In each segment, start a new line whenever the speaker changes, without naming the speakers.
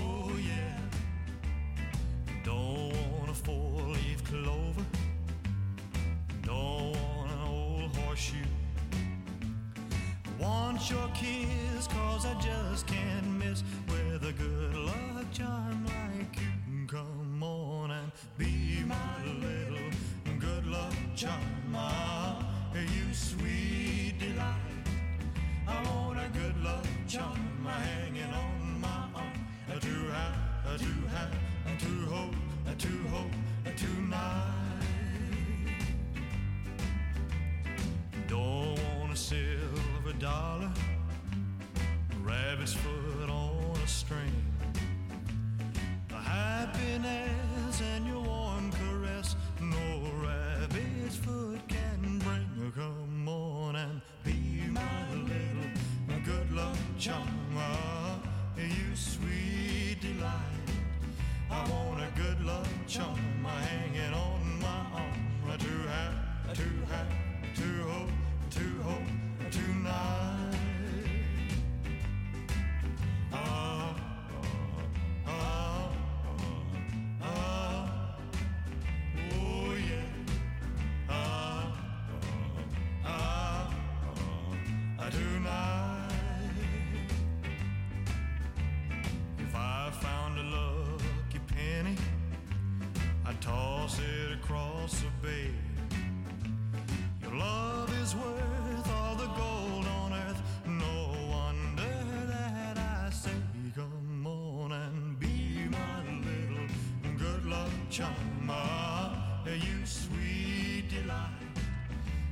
Oh yeah. Don't want a four-leaf clover. Don't want an old horseshoe. Want your kiss, cause I just can't miss with a good luck charm like you. Come on and be my little good luck charm. Ah, you sweet delight. I want a good luck charm hanging on my arm. A too high, a too high, a too ho, a too ho, a too high. Don't want a silver dollar, rabbit's foot on a string. A happiness and your warm caress, no rabbit's foot can bring. Come on and be my little good luck charm. Ah, You sweet delight. I want a good luck charm hanging on my arm. A too high, too high, too ho, too ho, too nice. Ah, ah, ah. Oh yeah. Ah, ah, ah. Tonight. If I found a lucky penny, I'd toss it across the bay. Your love is worth all the gold on earth. No wonder that I say, come on and be my little good luck charm. Ah, you sweet delight.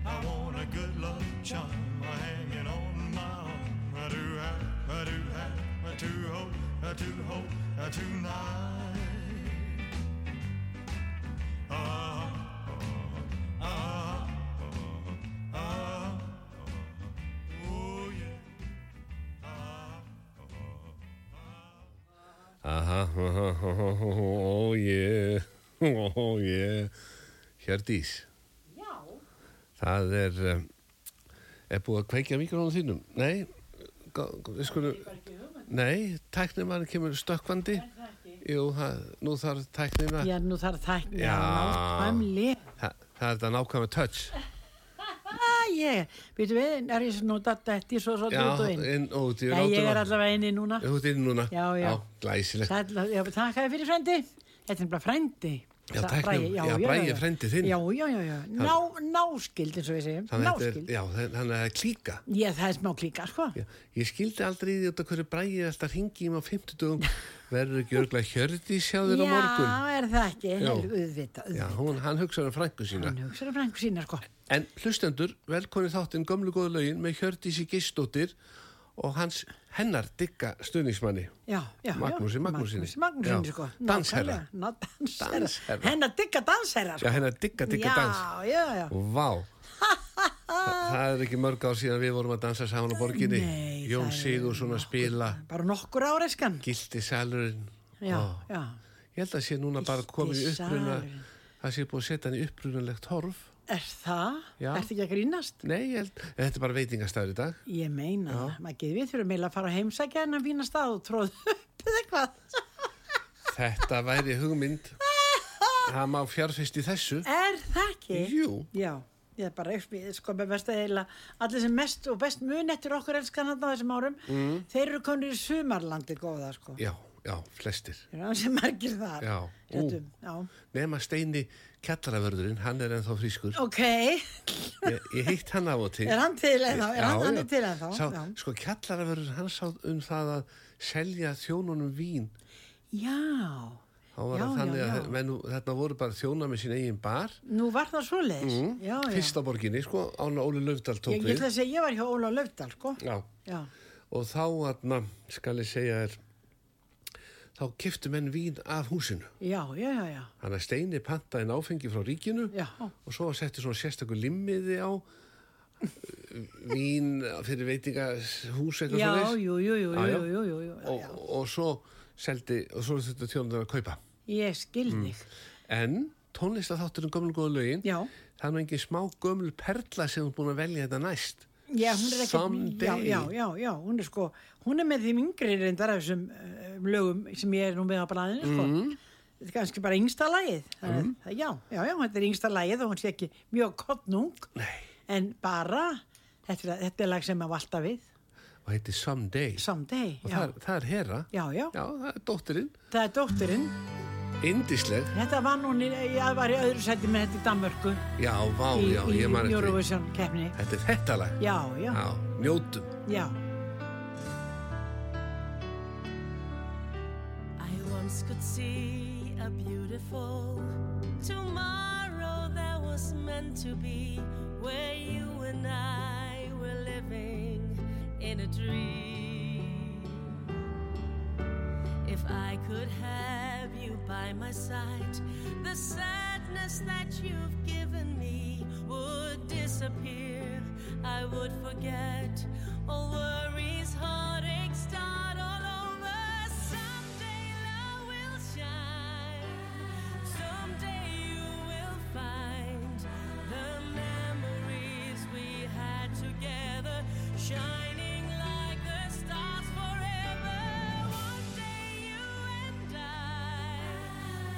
I want a good luck charm hanging on my arm. I do have, I do have, I do hope, I do hope, I do night. Ah, ah, ah, ah, oh yeah.
Aha, aha, oh aha, ó ég, ó ég, Hjördís. Já. Það er, um, er búið að kveikja mikrónu þínum? Nei, gá- gá- við skulum, nei, tæknir mann kemur stökkvandi. Jú, það, nú þarf tæknina,
Já, nú þarf það
Já.
nákvæmlega.
það, það er þetta nákvæmlega touch.
Ah, ég, veitum við, er ég svona datt eftir svo svo út og inn.
inn og út í
Já,
rátuna.
ég er allavega inni núna.
Þú ert inn núna?
Já, já.
glæsilegt.
Sæll, Já, þakkaði fyrir frendi. Þetta er bara frendi.
Já,
Sa-
tæknum.
Bragi,
Já, Bragi er frændi þinn.
Já, já, já, já. Ná, náskild eins og við segjum.
Þannig að þetta
Náskild.
er, já, þannig að það er klíka.
Já, það er smá klíka, sko.
Já, ég skildi aldrei í þetta hverju bræði alltaf hringi í mig á 50 dugum verður ekki örglega hjördi sjá þér á morgun
Já, er það ekki?
Já.
Helgu,
Já,
auðvitað, auðvitað.
hún, hann hugsaður um frængu sína
Hann hugsaði um frængu sína, sko.
En hlustendur, velkonni þáttinn gömlu góðu lögin með Hjördísi Gistóttir og hans hennar digga stuðningsmanni
Já, já, já.
Magnúsi Magnúsinni.
Magnúsi Magnúsinni,
Já.
sko.
Dansherra.
Nákvæmlega. Ná, dansherra.
Dansherra.
Hennar digga dansherra,
Já,
sko.
hennar digga digga dans
Já, já, já.
Og vá Þa- Það er ekki mörg ár síðan við vorum að dansa saman á borginni
Nei,
Jón
það er
Sigursson að spila
Bara nokkur ára, skan.
Gildi salurinn
Já,
Ó,
já.
Ég held að sé núna bara komið í uppruna
salurinn.
Það sé búið að setja hann í upprunalegt horf
Er það?
Já.
Ertu ekki að grínast?
Nei, ég held, þetta er bara veitingastæður í dag.
Ég meina það. Maður getur við þurfum meila að fara að heimsækja hennar fína stað og tróða upp eða hvað.
Þetta væri hugmynd. Það má fjárfist í þessu.
Er það ekki?
Jú.
Já. Ég er bara, ég sko, með best að heila, allir sem mest og best munettir okkur elskan þarna á þessum árum, mm. þeir eru konur í sumarlandi góða, sko.
Já, já, flestir.
Þeir eru aðeins margir þar.
Já, ú.
Réttum, já.
Nefna Steini Kjallaravörðurinn, hann er ennþá frískur.
Ok,
Ég, ég heitt hann af og til.
er hann til ennþá? Er hann, hann er til ennþá?
Sá,
já.
sko, Kjallaravörður, hann sá um það að selja þjónunum vín.
já.
Þá var
Já,
það
já,
þannig að
já.
þe- menn, þetta voru bara þjóna með sín eigin bar.
Nú var það svoleiðis. Mm. Já, já.
Fyrsta borginni, sko, ána Óli Löfdal tók
Ég, ég
við.
ætla að segja, ég var hjá Óla Löfdal, sko.
Já,
Já.
og þá atna, skal ég segja þér þá keftu menn vín af húsinu.
já, já, já, já,
Þannig að Steini pantaði en áfengi frá ríkinu
já,
og svo setti svona sérstakur limmiði á eh, vín fyrir veitingahús eitthvað
já,
svoleiðis. Ah,
jú, jú, jú,
Já, já.
jú, jú, jú, jú,
og,
já,
og svo seldi og svo þetta þjónundar að kaupa
ég skil
Mm.
þig,
en tónlistaþátturinn gömul góða lögin
já,
það er nú engin smá gömul perla sem þú er búin að velja þetta næst
já, hún er ekki, já,
Someday.
já, já, já, hún er sko, hún er með þeim yngri reyndar af þessum uh, lögum sem ég er nú með á blæðinu, sko,
Mm.
þetta er kannski bara yngsta lagið, það er, það- já, já, já, þetta er yngsta lagið og hún sé ekki mjög kottnung,
Nei.
en bara, þetta er, þetta er lag sem að valta við,
og heitir Someday
someday,
og
já,
það er, það er Hera
já, já,
já, það er dóttirinn
það er dótturinn,
indisleg
Þetta var núni, ég var í öðru sæti með þetta í Danmörku
já, vá,
í,
já,
í
ég man eftir því.
Eurovision keppni.
þetta er þetta lag
Já, já,
já, njótum
já.
I once could see a beautiful tomorrow that was meant to be, where you and I were living in a dream. If I could have you by my side, the sadness that you've given me would disappear. I would forget all worries, heartaches, start all over. Someday love will shine. Someday you will find the memories we had together shining like the stars forever. One day you and I,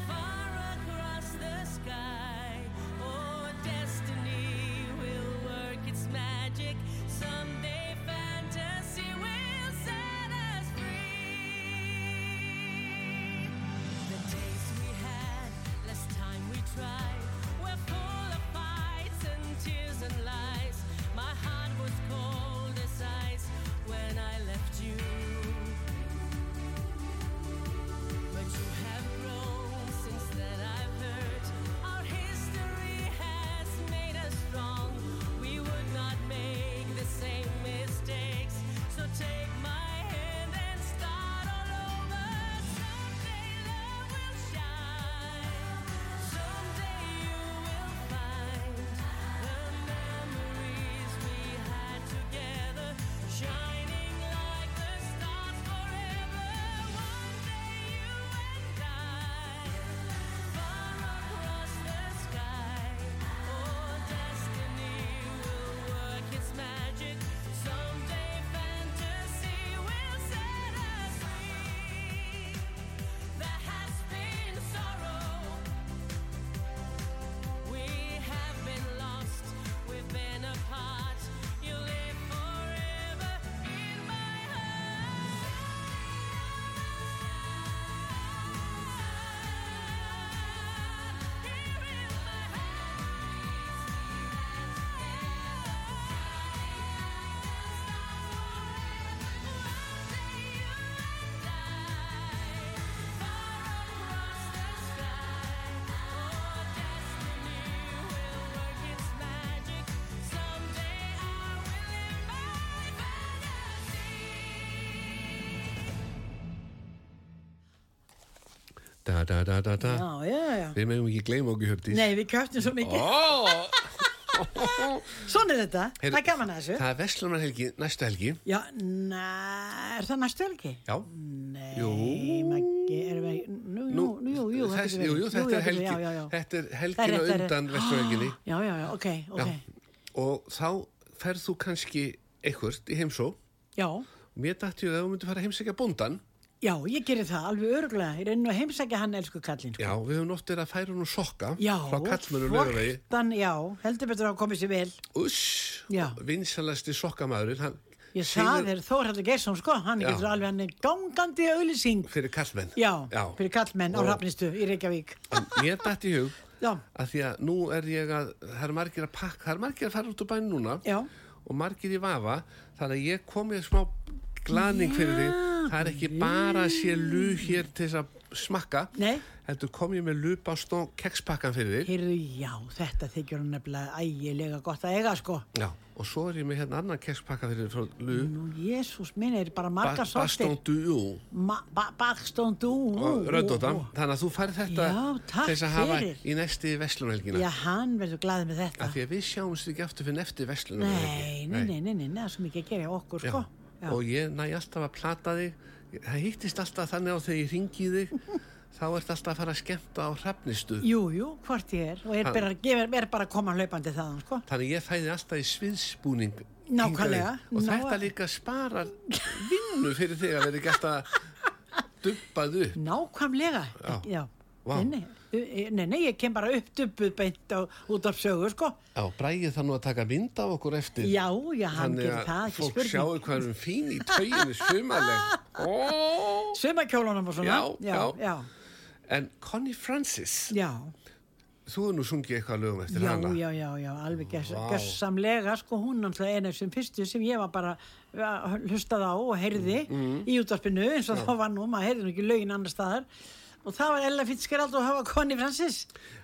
far across the sky, oh destiny will work its magic. Someday fantasy will set us free. The days we had, less time we tried, were full of fights and tears and lies. My heart was cold as ice when I left you. But you have grown since then I've heard. Our history has made us strong. We would not make the same mistakes. So take my hand and start all over. Someday love will shine. Someday you will find the memories we had together. Shining like the stars forever. One day you and I, far across the sky, oh destiny will work its magic. Someday fantasy will set us free. There has been sorrow. We have been lost, we've been apart. You live forever in my heart. Here in my
da, da, da, da, da.
Já, já, já.
við meðum ekki gleyma okkur höfdís
Nei, við kjöftum svo mikið.
oh!
Svona er þetta. það er gaman að þessu.
það er Vestlunarhelgi, næstu helgi
Já, na, er það næstu helgi?
já,
Nei,
Jú.
Maggi, erum við, nú, nú, nú, jú, jú, þetta
þess,
er verið.
jú, jú, þetta er
þetta
helgi
Já, já, já.
þetta er
Það
helgina
rétt, það er-
undan Vestlunarhelginni
Já, já, já, ok, ok.
og þá ferð þú kannski eitthvert í heimsó
Já,
mér dætti ég að þú myndi fara að heimsækja bóndan
já, ég gerir það alveg öruglega. Ég reynir að heimsækja hann, elsku kallinn, sko.
já, við höfum oft verið að færa hún og sokka
Já,
frá kallmönu lögavegi
flottan, já, heldur betur að hafa komið sér vel
uss,
Já.
vinsalasti sokkamæðurinn hann
Ég það
sigur
er Þórhaldur Geirsson sko, hann
Já.
getur alveg hann er gangandi auðlýsing
fyrir kallmenn
Já, fyrir kallmenn á
Og-
Hrafnistu í Reykjavík
En mér dætti í hug
Já,
að því að nú er ég að það er margir að pakka, það er margir að fara út úr bæn núna
já,
og margir í vafa þannig að ég kom ég smá glaning fyrir þig það er ekki bara að sé lú hér til þess að smakka
Nei.
heldur kom ég með lupastón kekspakkan fyrir þig
Heyrðu, já, þetta þykir hún nefnilega ægilega gott að eiga, sko.
já. og svo er ég með hérna annan kekspakka fyrir þig frá Lu
Nú, Jésús minn, er bara
ba
margar
Bastón
sortir.
Dujú
Ma- ba- Bakstón dú.
og Röddóta þannig að þú færð þetta
Já, takk
til þess að hafa
fyrir.
í næsti veslunhelgina
Já, hann verður glaðið með þetta.
af því að við sjáumst ekki aftur fyrir eftir vestlunum
Nei, nei, nei, nei, nei, nei, það er svo mikið að gera hjá okkur,
Já.
sko. Já.
og ég næ alltaf að plata þig það hittist alltaf þannig á þegar ég ringi þig þá ert alltaf að fara að skemmta á hrafnistu
Jú, jú, hvort ég er. Og er
Hann-
bara, ég er, er bara að koma hlaupandi þaðan, sko.
þannig ég fæði alltaf í sviðsbúning
Nákvæmlega.
hingað inn. og
Ná-
þetta líka sparar vinnu fyrir þig að vera ekki alltaf dubbað upp
Nákvæmlega.
Já.
Já.
Vá.
Nei, nei, nei, nei, ég kem bara upp dubbuð beint á, út af sögu, sko.
Já, bræði það nú að taka mynd af okkur eftir
Já, já, hann
þannig
gerir það,
að
ekki
fólk
spurning.
sjáu hvað erum fín í tauginu sumarleg oh.
Sumakjólunum og svona.
Já, já.
já.
en Connie Francis
Já, já.
þú er nú sungið eitthvað lögum eftir
já,
hana
já, já, já, alveg gess,
Vá.
gessamlega sko hún náttúrulega einu sem fyrstu sem ég var bara ja, hlustað á og heyrði
Mm,
í útvarpinu eins og þá var nú, maður heyrði nú ekki lögin annar staðar og það var Ella Fitzgerald og hafa Connie Francis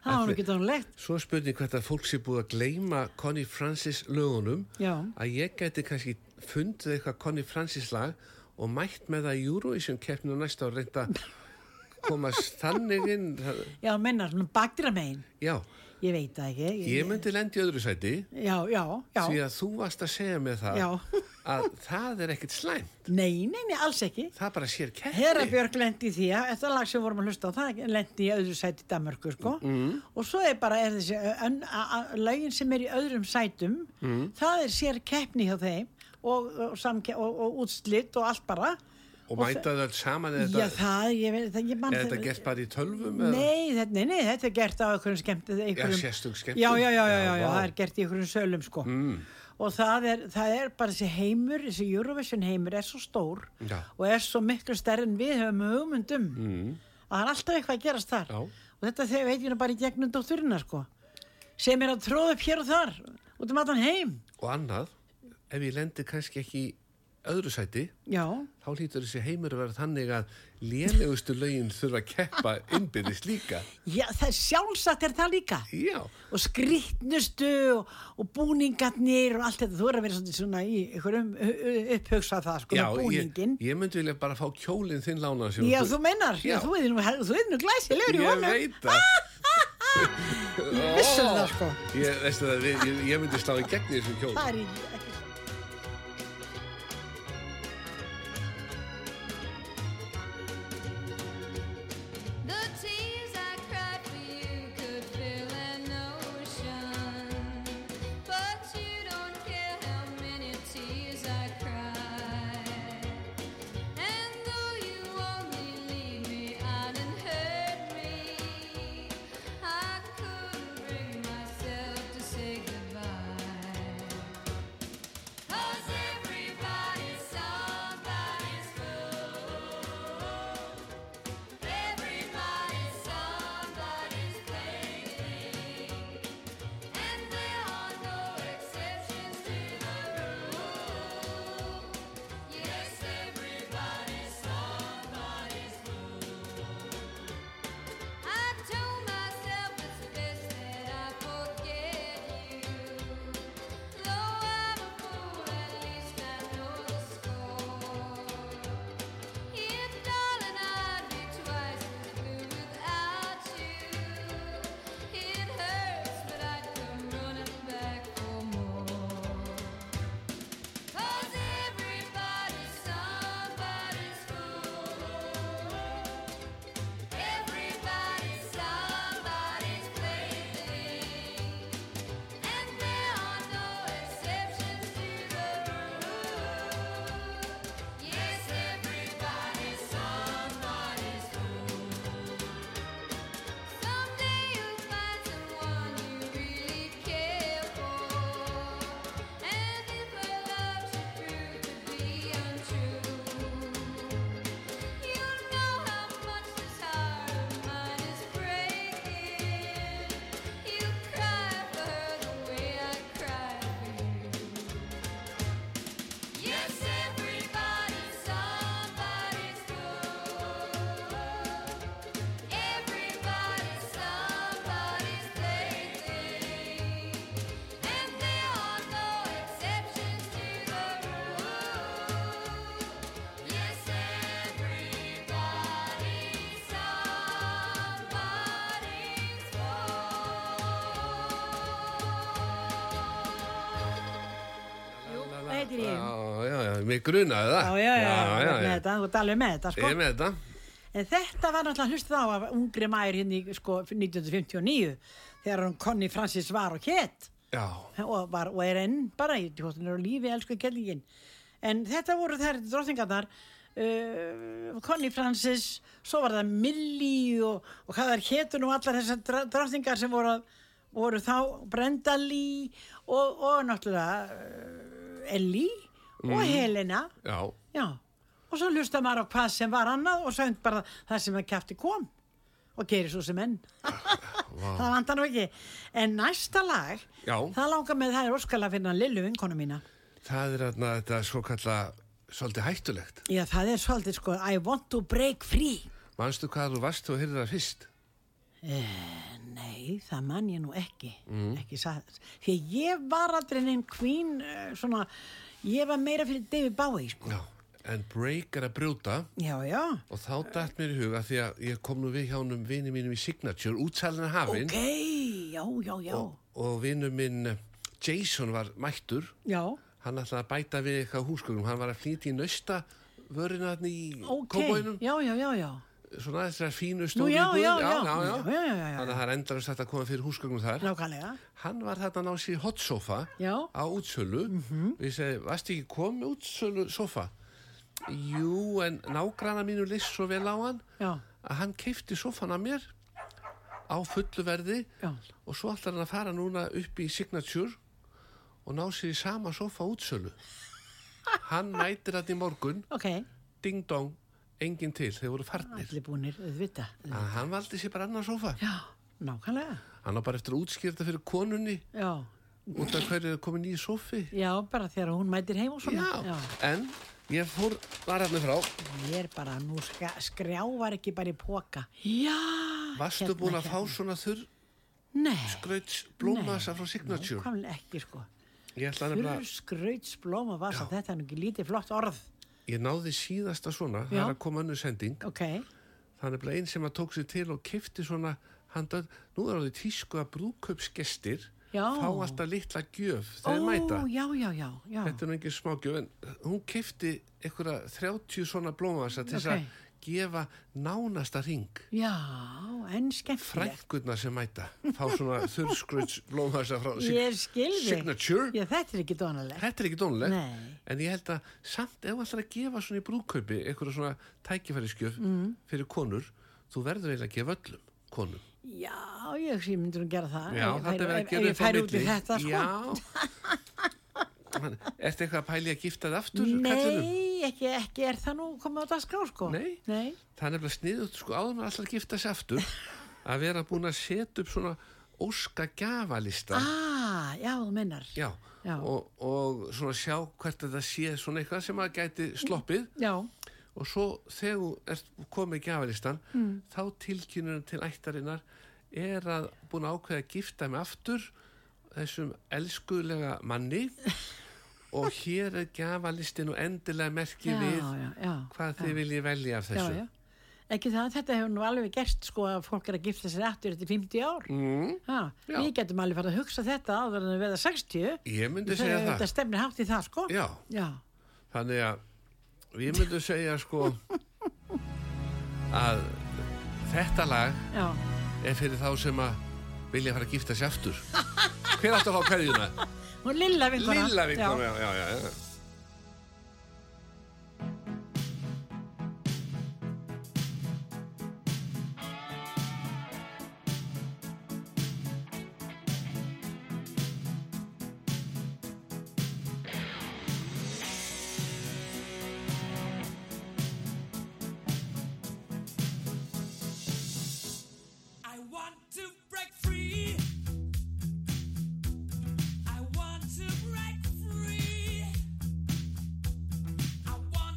það var nú
Ætli-
ekki tónlegt
Svo er spurning hvert að fólk sé búið að gleyma Connie Francis lögunum
Já.
að ég gæti kannski fundið eitthvað Connie Francis lag og mætt með það í Eurovision keppninu næsta og reynda komast þannig inn það-
já, menna, svona bakdýra megin
Já,
ég veit það ekki
ég myndi lendi í öðru sæti
já, já, já,
því að þú varst að segja mér það
Já.
að það er ekkert slæm
nei, nei, nei, alls ekki
það bara sér keppni
Hera Björk lendi í því að þetta lag sem við vorum að hlusta á það lendi í öðru sæti í Danmörku sko.
Mm.
og svo er bara er þessi, en, a, a, lögin sem er í öðrum sætum
Mm.
það er sér keppni hjá þeim og, og, samke, og, og útslitt og allt bara
og mæta það saman eða
Já
þetta,
það, ég veit það, ég mann
er þetta gert bara í tölvum eða?
Nei, þetta, nei, nei, þetta er gert á einhverjum skemmt einhverjum,
sérstök skemmtun.
Já, já, já, já,
Já,
já,
vá. Mm.
það er gert í einhverjum sölum sko Og það er, það er bara þessi heimur, þessi Eurovision heimur er svo stór
Já.
Og er svo miklu stærri en við höfum hugmyndum mm. Að það er alltaf eitthvað að gerast þar
Já.
Og þetta þegar veit ég nú bara í gegnum dótturina sko Sem er að tróða upp hér og þar Út um allan heim
og annað ef ég lendi kannski ekki í öðru sæti
Já,
þá hlýtur þessi heimur að vera þannig að lélegustu lögin þurfa að keppa innbyrðis líka.
já það er sjálfsagt er það líka
Já,
og skrýtnustu og, og búningarnir og allt þetta, þú er að vera svolítið svona í einhverjum upphugsað það, sko,
já
með
ég,
búningin
ég myndi vilja bara fá kjólinn þinn lánað sem
Já, þú meinar, já,
Já.
þú er nú, þú er nú glæsilegur í
Ég
honum
veit það. Ég
vissi það, sko.
Ég, veistu það, við- ég, ég myndi slá í gegn í þessum kjólinn.
Það er í- ekki
The tears I cried for you could fill an ocean, but you don't care how many tears I cried. And though you only leave me out and hurt me, I couldn't bring myself to say goodbye.
heitir ég.
Já, já, já, mig grunaði það.
Já, já, já,
Ah, já,
Með þetta, þú ert alveg með þetta,
Ég er
sko.
með þetta.
En þetta var náttúrulega hlustið á af ungri maður hérna í, sko, 1959, þegar hún Conny Francis var og hétt
Já,
og, var, og er enn bara, ég veit hvort hún er á lífi, elsku kellingin. En þetta voru þær drottingarnar, uh, Conny Francis, svo var það Millie og, og hvað þær hétun og allar þessar dra- drottingar sem voru, að- voru þá Brenda Lee og, og náttúrulega uh, Ellie og Helena.
já,
Já, og svo hlusta maður á hvað sem var annað og sönd bara það sem að kæfti kom og gerir svo sem enn. það vantar nú ekki. En næsta lag,
Já.
það langar með það er óskalega fyrir hann Lillu vinkonu mína.
það er þarna þetta svo kalla svolítið hættulegt.
Já, það er svolítið sko, I want to break free.
Manstu hvað þú varst og heyrði það fyrst?
Nei, það man ég nú ekki,
Mm.
ekki satt. Því að ég var aldrei neinn queen, eh, svona, ég var meira fyrir David Bowie, sko.
Já. En break er að brjóta
Já, já,
og þá dætt mér í huga því að ég kom nú við hjá húnum vini mínum í Signature, útsalina hafinn
ok, já, já, já,
og vinu minn eh, Jason var mættur.
já.
Hann ætlaði að bæta við eitthvað húsgögnum. Hann var að flýta í nösta vörina þarna í
Ok,
kóbóinum.
já, já, já, já.
svona þessar fínu
Nú,
stóri
já,
íbúðir. já,
já, já.
já.
Já, já, já, já.
Þannig að það er endarast hægt að koma fyrir húsgögnum þar.
Nákvæmlega.
Hann var þarna að ná sér hotsofa
Já. Mhm.
á útsölu. Og ég segi, varstu ekki komið útsölu sofa? Jú, en nágrana mínu list svo vel á hann
Já.
að hann keifti sofan að mér á fullu verði
Já.
og svo ætlar hann að fara núna upp í Signature og ná sér í sama sofa á útsölu. Hann mætir þetta í morgun,
Ok,
ding dong, engin til, þeir voru farnir.
allir búinir, auðvita.
að hann valdi sér bara annan sófa
Já, nákvæmlega.
hann á bara eftir að útskýra þetta fyrir konunni
Já,
út af hverju er komin í sófi
já, bara þegar hún mætir heim og svona.
já, en ég fór var hérna frá,
Ég er bara, nú ska, skrjávar ekki bara í póka. Já,
varstu
Hérna,
búin að
hérna.
fá svona þurr
nei.
gröts blómasa frá Sko, Signature
Nákvæmlega ekki, sko.
ég ætla
Þurr
nefnilega,
skrautsblóm og vasa,
Já.
þetta er nú ekki lítið flott orð.
ég náði síðasta svona
Já.
það er að koma önnur sending
Ok,
það er nefnilega einn sem að tók sér til og kifti svona handað, nú er það tísku að brúköpsgestir
Já.
fá alltaf litla gjöf
ó,
þegar mæta
já, já, já, já.
Þetta er nú engin smágjöf en hún kefti einhverja 30 svona blómavasa til þess
Ok.
að gefa nánasta ring
Já, en skemmtilegt.
frækkurna sem mæta fá svona þurrskröts blómavasa frá sig-
Ég skil þig.
Signature
Já, þetta er ekki donalegt.
Þetta er ekki dónulegt
Nei.
en ég held að samt ef allar að gefa svona í brúðkaupi einhverja svona tækifæriskjöf mm. fyrir konur þú verður eiginlega að gefa öllum konum
Já, ég hugsa ég myndi nú gera það.
Já,
Ef ég
þetta verður
færi-
að
ef-
gera
Ef ég færi út í þetta, sko.
Já Þannig, Ertu eitthvað að pæli að gifta það aftur? kallinum?
Nei, ekki, ekki er það nú komið á dagskrá sko
Nei.
Nei.
það er nefnilega sniðut sko áður með allar gifta sér aftur að vera búin að setja upp svona óska gjafalista
Ah, já, þú mennar
já,
Já.
Og, og svona sjá hvert þetta sé svona eitthvað sem að gæti sloppið
já,
og svo þegar þú ert komið í gjafalistan
Mm.
þá tilkynunum til ættarinnar er að búin að ákveða að gifta mig aftur þessum elskulega manni og hér er gjafalistin og endilega merki
já,
við
já, já,
hvað þið viljið velja af
já,
þessu
já. Ekki það, þetta hefur nú alveg gerst sko að fólk er að gifta sér aftur eftir 50 ár mm. já,
Já.
Við getum alveg farið að hugsa þetta áður en að verða 60
Ég myndi segja það.
Þetta stefnir hátt í það sko
Já.
já,
Þannig að við myndum segja sko að þetta lag
já.
er fyrir þá sem að vilja fara að gifta sér aftur. Hver átti að fá hverjuna?
Hún lilla vinkona
Lilla
já.
vinkona, já, já, já.
I want to break free. I want to break free. oh, Oh,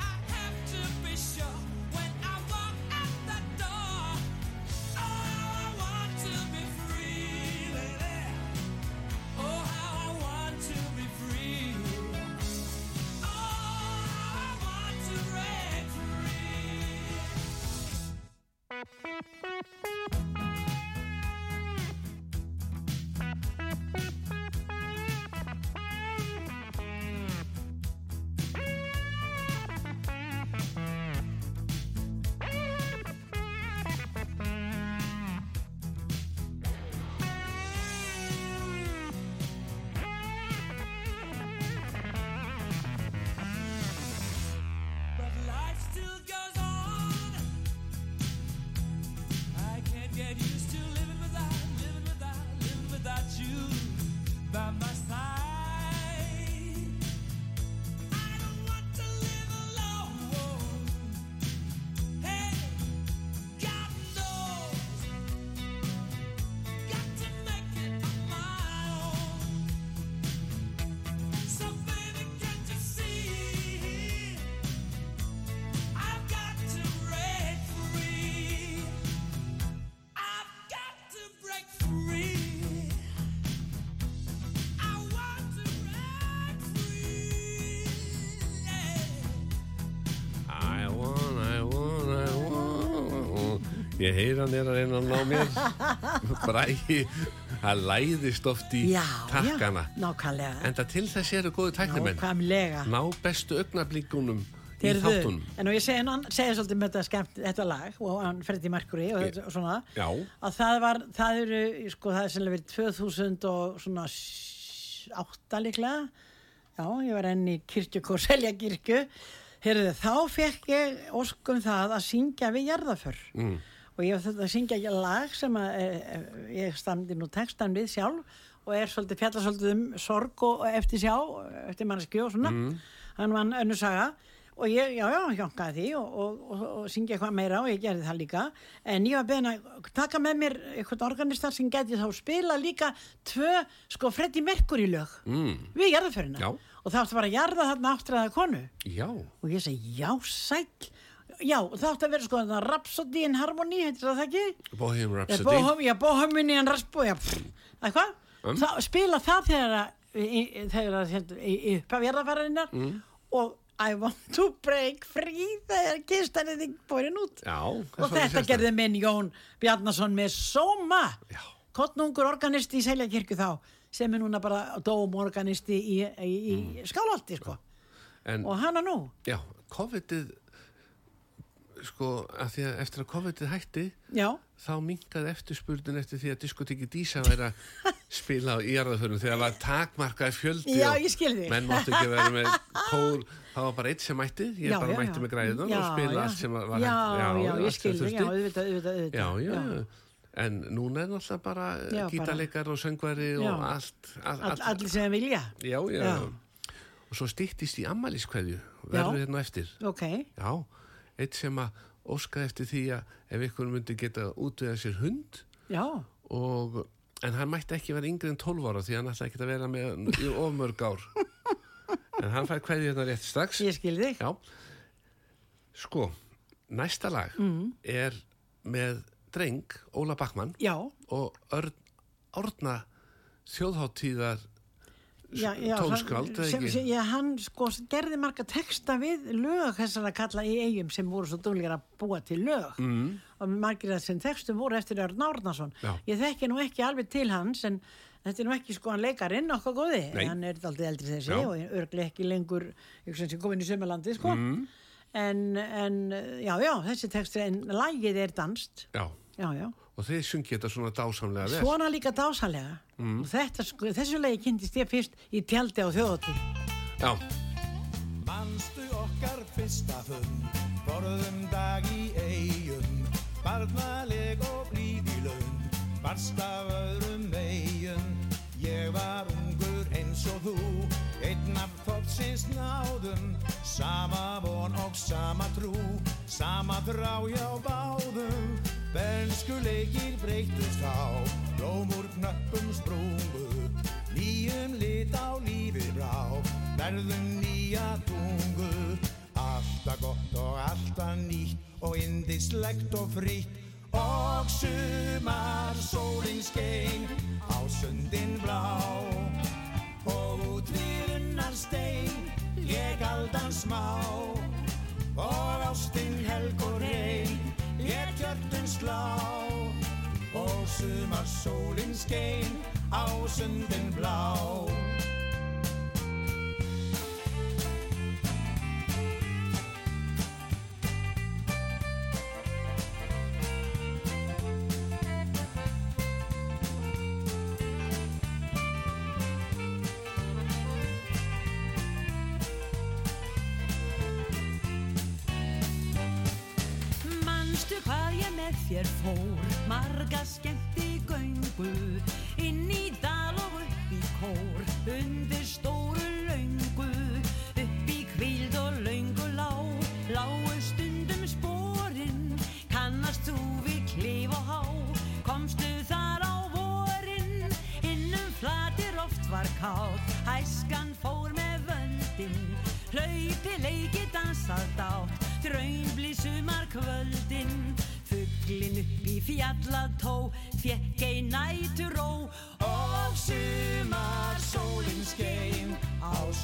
Oh,
Ég heyr hann er að reyna að ná mér Bræði Það læðist oft í
Já,
takkana
já, nákvæmlega
En það til þess eru góðu tæknimenn
Nákvæmlega
Ná bestu augnablíkunum í
Heyrðu,
þáttunum
En og ég segi, hann segi svolítið með þetta skemmt þetta lag og hann Freddy Mercury og, þetta- og svona
Já.
að það var, það eru sko, það er sennilega verið 2000 og svona s- átta líklega já, ég var enn í kirkjukór selja kirkju Heyrðu, þá fekk ég óskum það að syngja við jarðaför mm. og ég þurfti að syngja ekki lag sem að, e, e, ég stamdi nú textan við sjálf og er svolítið fjalla svolítið um sorg og og eftir sjá, eftir mannskju og svona
Mm.
hann vann önnur saga og ég, já, já, hjónkaði því og, og, og, og syngja eitthvað meira og ég gerði það líka en ég var beðin að taka með mér eitthvað organistar sem gæti þá spila líka tvö, sko, Freddy Mercury lög mm. við jarðaförina
Já.
og það átti bara að jarða þarna áttræða konu
Já,
og ég segi, já, sæll já, og það átti að vera sko þarna Rhapsody in Harmony, heitir það ekki?
Bohemian
Já,
Rhapsody
bóhum, já, bóhuminni en raspo, já, pff, eitthvað.
Um.
Um. Spila það þegar að, í- í- þegar að, hérna, í í upphafi jarðarfararinnar
Mm.
og I want to break free þegar kistan er þig bórin út.
Já,
og þetta gerði minn Jón Bjarnason með sóma.
Já.
Kottnungur organisti í Seljakirkju þá, sem er núna bara dómorganisti í, í, í
Mm.
skálhaldi, sko.
En
Og hana nú.
já, COVIDið Sko, að því að eftir að COVIDið hætti
Já,
þá minkaði eftirspurnin eftir því að diskotekki Dísa væri að spila á jarðaförnum þegar það var takmarkaði fjöldi
Já,
og
ég skil þig.
menn máttu ekki vera með kór það var bara eitt sem mætti, ég bara mætti með græðunar og spila allt sem var
já, já, já,
allt sem
ég skil þig, já,
þurfti.
auðvitað, auðvitað, auðvitað.
já, já, en núna er náttúrulega bara eh,
Já, bara-
gítarleikar og söngvari
Já.
og allt, all,
All,
all,
allir sem vilja
já, já,
Já.
og svo stýttist í ammæliskveðju verður
Já.
hérna á eftir
ok,
Já, eitt sem að óskaði eftir því að ef ykkur myndi geta útvega sér hund
já,
og, en hann mætti ekki vera yngri en 12 ára því hann ætlaði ekki að vera með í ofmörg ár en hann fær hverju hérna rétt strax
ég skil þig
Já, sko næsta lag
Mm.
er með dreng Óla Backmann
já,
og Örn Árna þjóðháttíðar
já, já
tónskáld, eða
sem,
ekki?
sem, já, hann sko gerði marga texta við lög þessara kalla í eigum sem voru svo dúlegar að búa til lög mm. og margir að sem textum voru eftir Örn Árnason
Já.
ég þekki nú ekki alveg til hans en þetta er nú ekki sko hann leikarinn okkar góði
Nei.
hann er daldið eldri þessi
Já.
og örglega ekki lengur ég sem sé komin í sömulandi sko
Mm.
en, en já, já, þessi texti en lagið er danst
Já,
já, já
og þeir sungi þetta svona dásamlega vel
Svona líka dásalega og þetta, sko, þessu lagi kynntist ég fyrst í tjaldi á þjóðatí
Já,
Manstu okkar fyrsta fund Borðum dag í eigum Barnaleg og blíð í laun Varst af öðrum vegum Ég var ungur eins og þú Einn af þótsins náðum Sama von og sama trú Sama þrá hjá báðum Bernskuleikir breytust á Blómur knöppum sprungu Nýjum lit á lífið brá Verðum nýja tungu Alltaf gott og alltaf nýtt Og indislegt og frítt Og sumar sólin skein Á sundin blá Og út við unnar stein Ég aldan smá Og ástinn helg og reyn Ég kjörtun slá og sumar sólin skein á sundin blá.
Manstu hvað ég með þér fór Marga skemmti göngu Inn í dal og upp í kór Undir stóru laungu Upp í kvíld og laungu lá Láu stundum spórin Kannast þú við klif og há Komstu þar á vorin Innum flatir oft var kátt Hæskan fór með völdin Hlaupi leiki dansað dátt Draunbli sumar kvöldin Fuglin upp í fjallató Fjekk ei nætur ró
Og sumar sólin skein á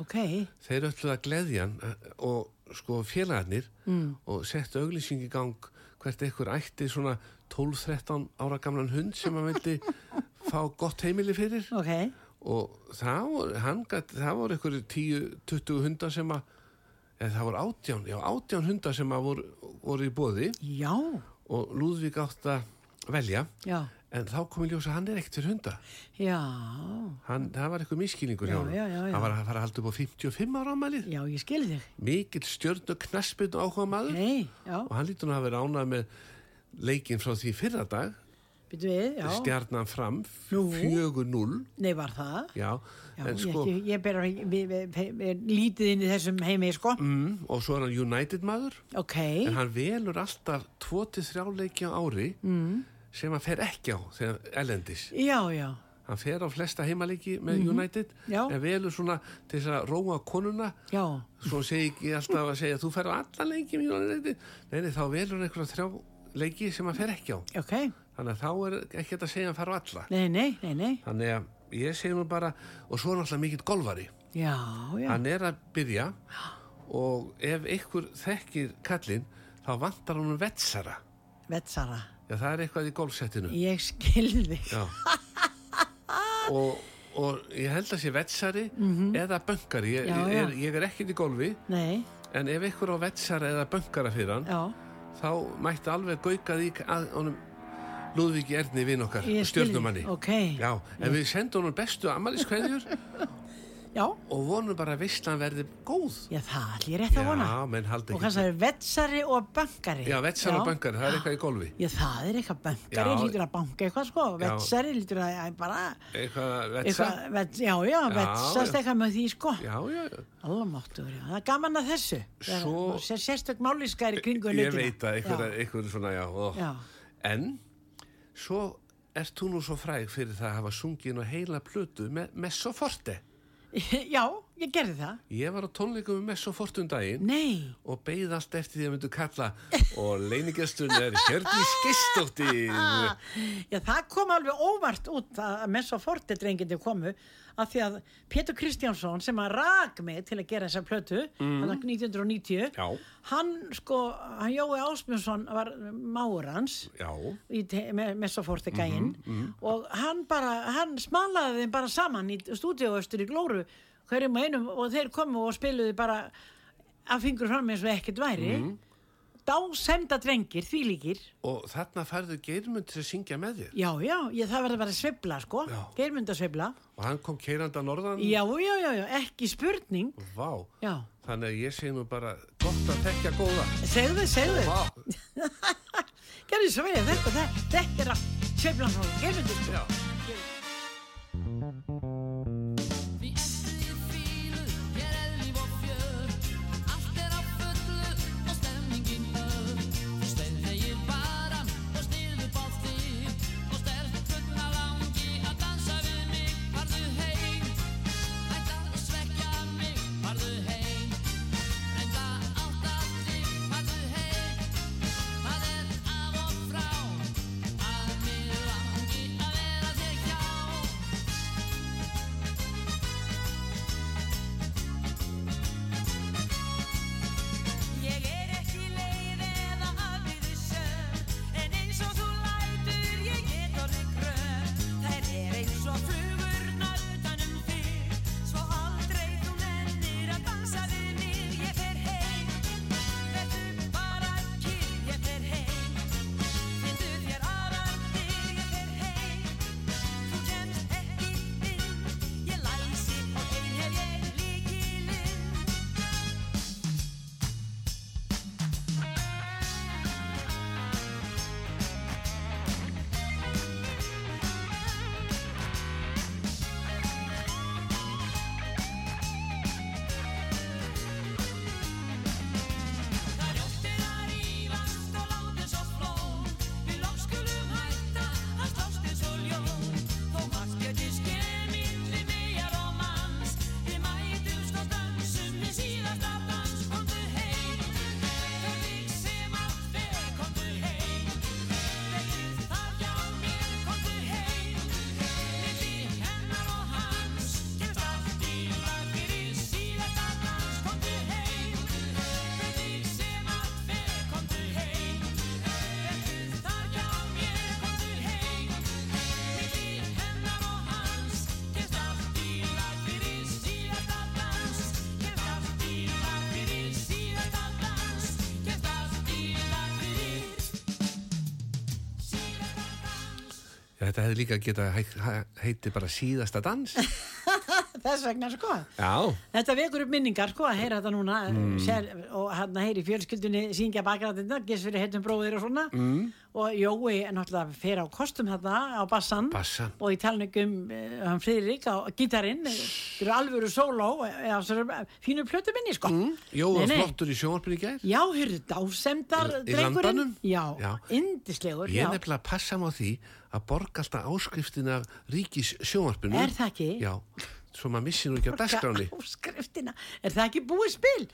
Ok,
þeir öllu að gleðja hann eh, og sko félagarnir mm. og settu auglýsing í gang hvert ekkur ætti svona 12-13 ára gamlan hund sem hann vildi fá gott heimili fyrir
ok,
og það voru, hann gat, það voru einhverju 10-20 hundar sem að eða það voru átján, já átján hundar sem að voru, voru í bóði
já,
og Lúðvík átt að velja
já,
en þá kom í ljós að hann er ekkert fyrir hunda
já,
hann, það var eitthvað miskilningur
Já,
hjá honum.
já, já, já.
hann var að fara að halda upp á 55 ára ámælið
já, ég skil þig.
mikill stjörn og knaspin áhuga maður
Nei, já,
og hann lítur nú að vera ánað með leikinn frá því fyrra dag
byrju við, já.
stjarnan fram
Nú.
4-0
Nei, var það?
já,
Já,
en sko
ég, ekki- ég ber við, við, við, við, lítið inn í þessum heimi, sko.
mm, og svo er hann United maður
Ok,
en hann velur alltaf 2-3 leiki á ári mm. sem hann fer ekki á þegar elendis
já, já,
hann fer á flesta heimaleiki með United
Mhm. Já.
en velur svona til þess að róa konuna
já,
svo segi ekki alltaf að segja þú fer á alla leiki með United nei, nei, þá velur hann einhverja þrjá leiki sem hann fer ekki á
ok.
þannig að þá er ekkert að segja að fara á alla
Nei, nei, nei, nei,
þannig að ég segi nú bara og svo er náttúrulega mikill golfari
já, já.
hann er að byrja og ef ykkur þekkir kallinn þá vantar hann vetsara
Vetsara,
já það er eitthvað í golfsettinu
ég skilði
já og, og ég held að sé vetsari eða böngari ég,
Mhm. Já, já.
Er, ég er ekkert í golfi
Nei,
en ef ykkur á vetsara eða böngara fyrir hann
já,
þá mætti alveg gauka því að honum Lúðvík Erni vinn okkar
Ég skil þig,
stjórnumanni
ok.
Já, en við sendum honum bestu ammaliskveðjur
já,
og vonum bara að veistlan verði góð
já, það allir rétt að vona
Já, menn haldi
Og
ekki
hvað það er vetsari og bankari
Já, vetsar og bankar, það er eitthvað í golfi
Já, það er eitthvað bankari,
Já.
lítur að banka eitthvað sko
Já.
Vetsari lítur að að bara
Eitthvað að vetsa
eitthvað, vets, Já, já, vetsast
já.
eitthvað með því sko
Já, já,
Allamáttur, já, það er gaman að þessu
Svo-
Sér sérstök máliskar í kringu
ég veit að eitthvað, eitthvað svona, já, ó.
Já,
En, svo ert þú nú svo fræg fyrir það að hafa sungin og heila plötu með Messo Forte
já. já, ég gerði það
Ég var á tónleikum með Messo Forte um daginn
Nei,
og beigð allt eftir því að myndu kalla og leiningasturinn er Hjördís Gistóttir
Já, það kom alveg óvart út að að messa fortið drengindi komu af því að Pétur Kristjánsson sem að rak mig til að gera þessa plötu hann 1990
Mhm. Já.
hann sko, hann Jói Ásbjörnsson var máur hans
Já,
í te- me- messaforti gæinn
Mhm,
og hann bara, hann smalaði þeim bara saman í stúdíóaustur í Glóru hverjum og einum og þeir komu og spiluðu bara að fingur fram eins og ekkert væri
Mhm.
dásemda drengir, þvílíkir
og þarna færðu Geirmund til að syngja með þér
Já, já, ég, það verður bara sveifla sko,
Já.
geirmyndasveifla
og hann kom keirandi að norðan
Já, já, já, já, ekki spurning
Vá,
Já,
þannig að ég segi nú bara gott að tekja góða
segðu, segðu
Vá,
Gerðu svo verið, þetta, þetta, þetta er að sveifla frá geirmyndu sko
já
Við eftir í fílu, hér er líf og fjör Allt er á fullu og stemningin hör Þú stelðegir varan og styrðu bá þig Og stertu fullna langi að dansa við mig Farðu heim, hætta að svekja mig Farðu heim, reynda átt að þig Farðu heim, það er af og frá Að mig langi að vera
Já, þetta hefði líka geta heiti bara síðasta dans.
Þess vegna sko.
Já,
Þetta vekur upp minningar sko að heyra þetta núna
Mm.
sér, og hann heyri í fjölskyldunni syngja bakgræðina, gissur heitum bróðir og svona mm. og Jói er náttúrulega fer á kostum þarna á bassan
Bassann.
og í talningum uh, hann Friðrik á gitarinn þetta eru alvöru sóló eh, á þessari fínu plötu minni sko mm.
Jó, var flottur í sjónvarpinu í gær.
Já, hyrðu, dásemdar
Í- í
drengurinn
Landanum?
Já,
Já.
yndislegur
Ég
já.
er nefnilega að passa mig á því að borga alltaf áskriftin af ríkis sjónvarpinu.
Er það ekki?
Já, svo maður missi nú ekki af dagskráni.
áskriftina, er það ekki búið spil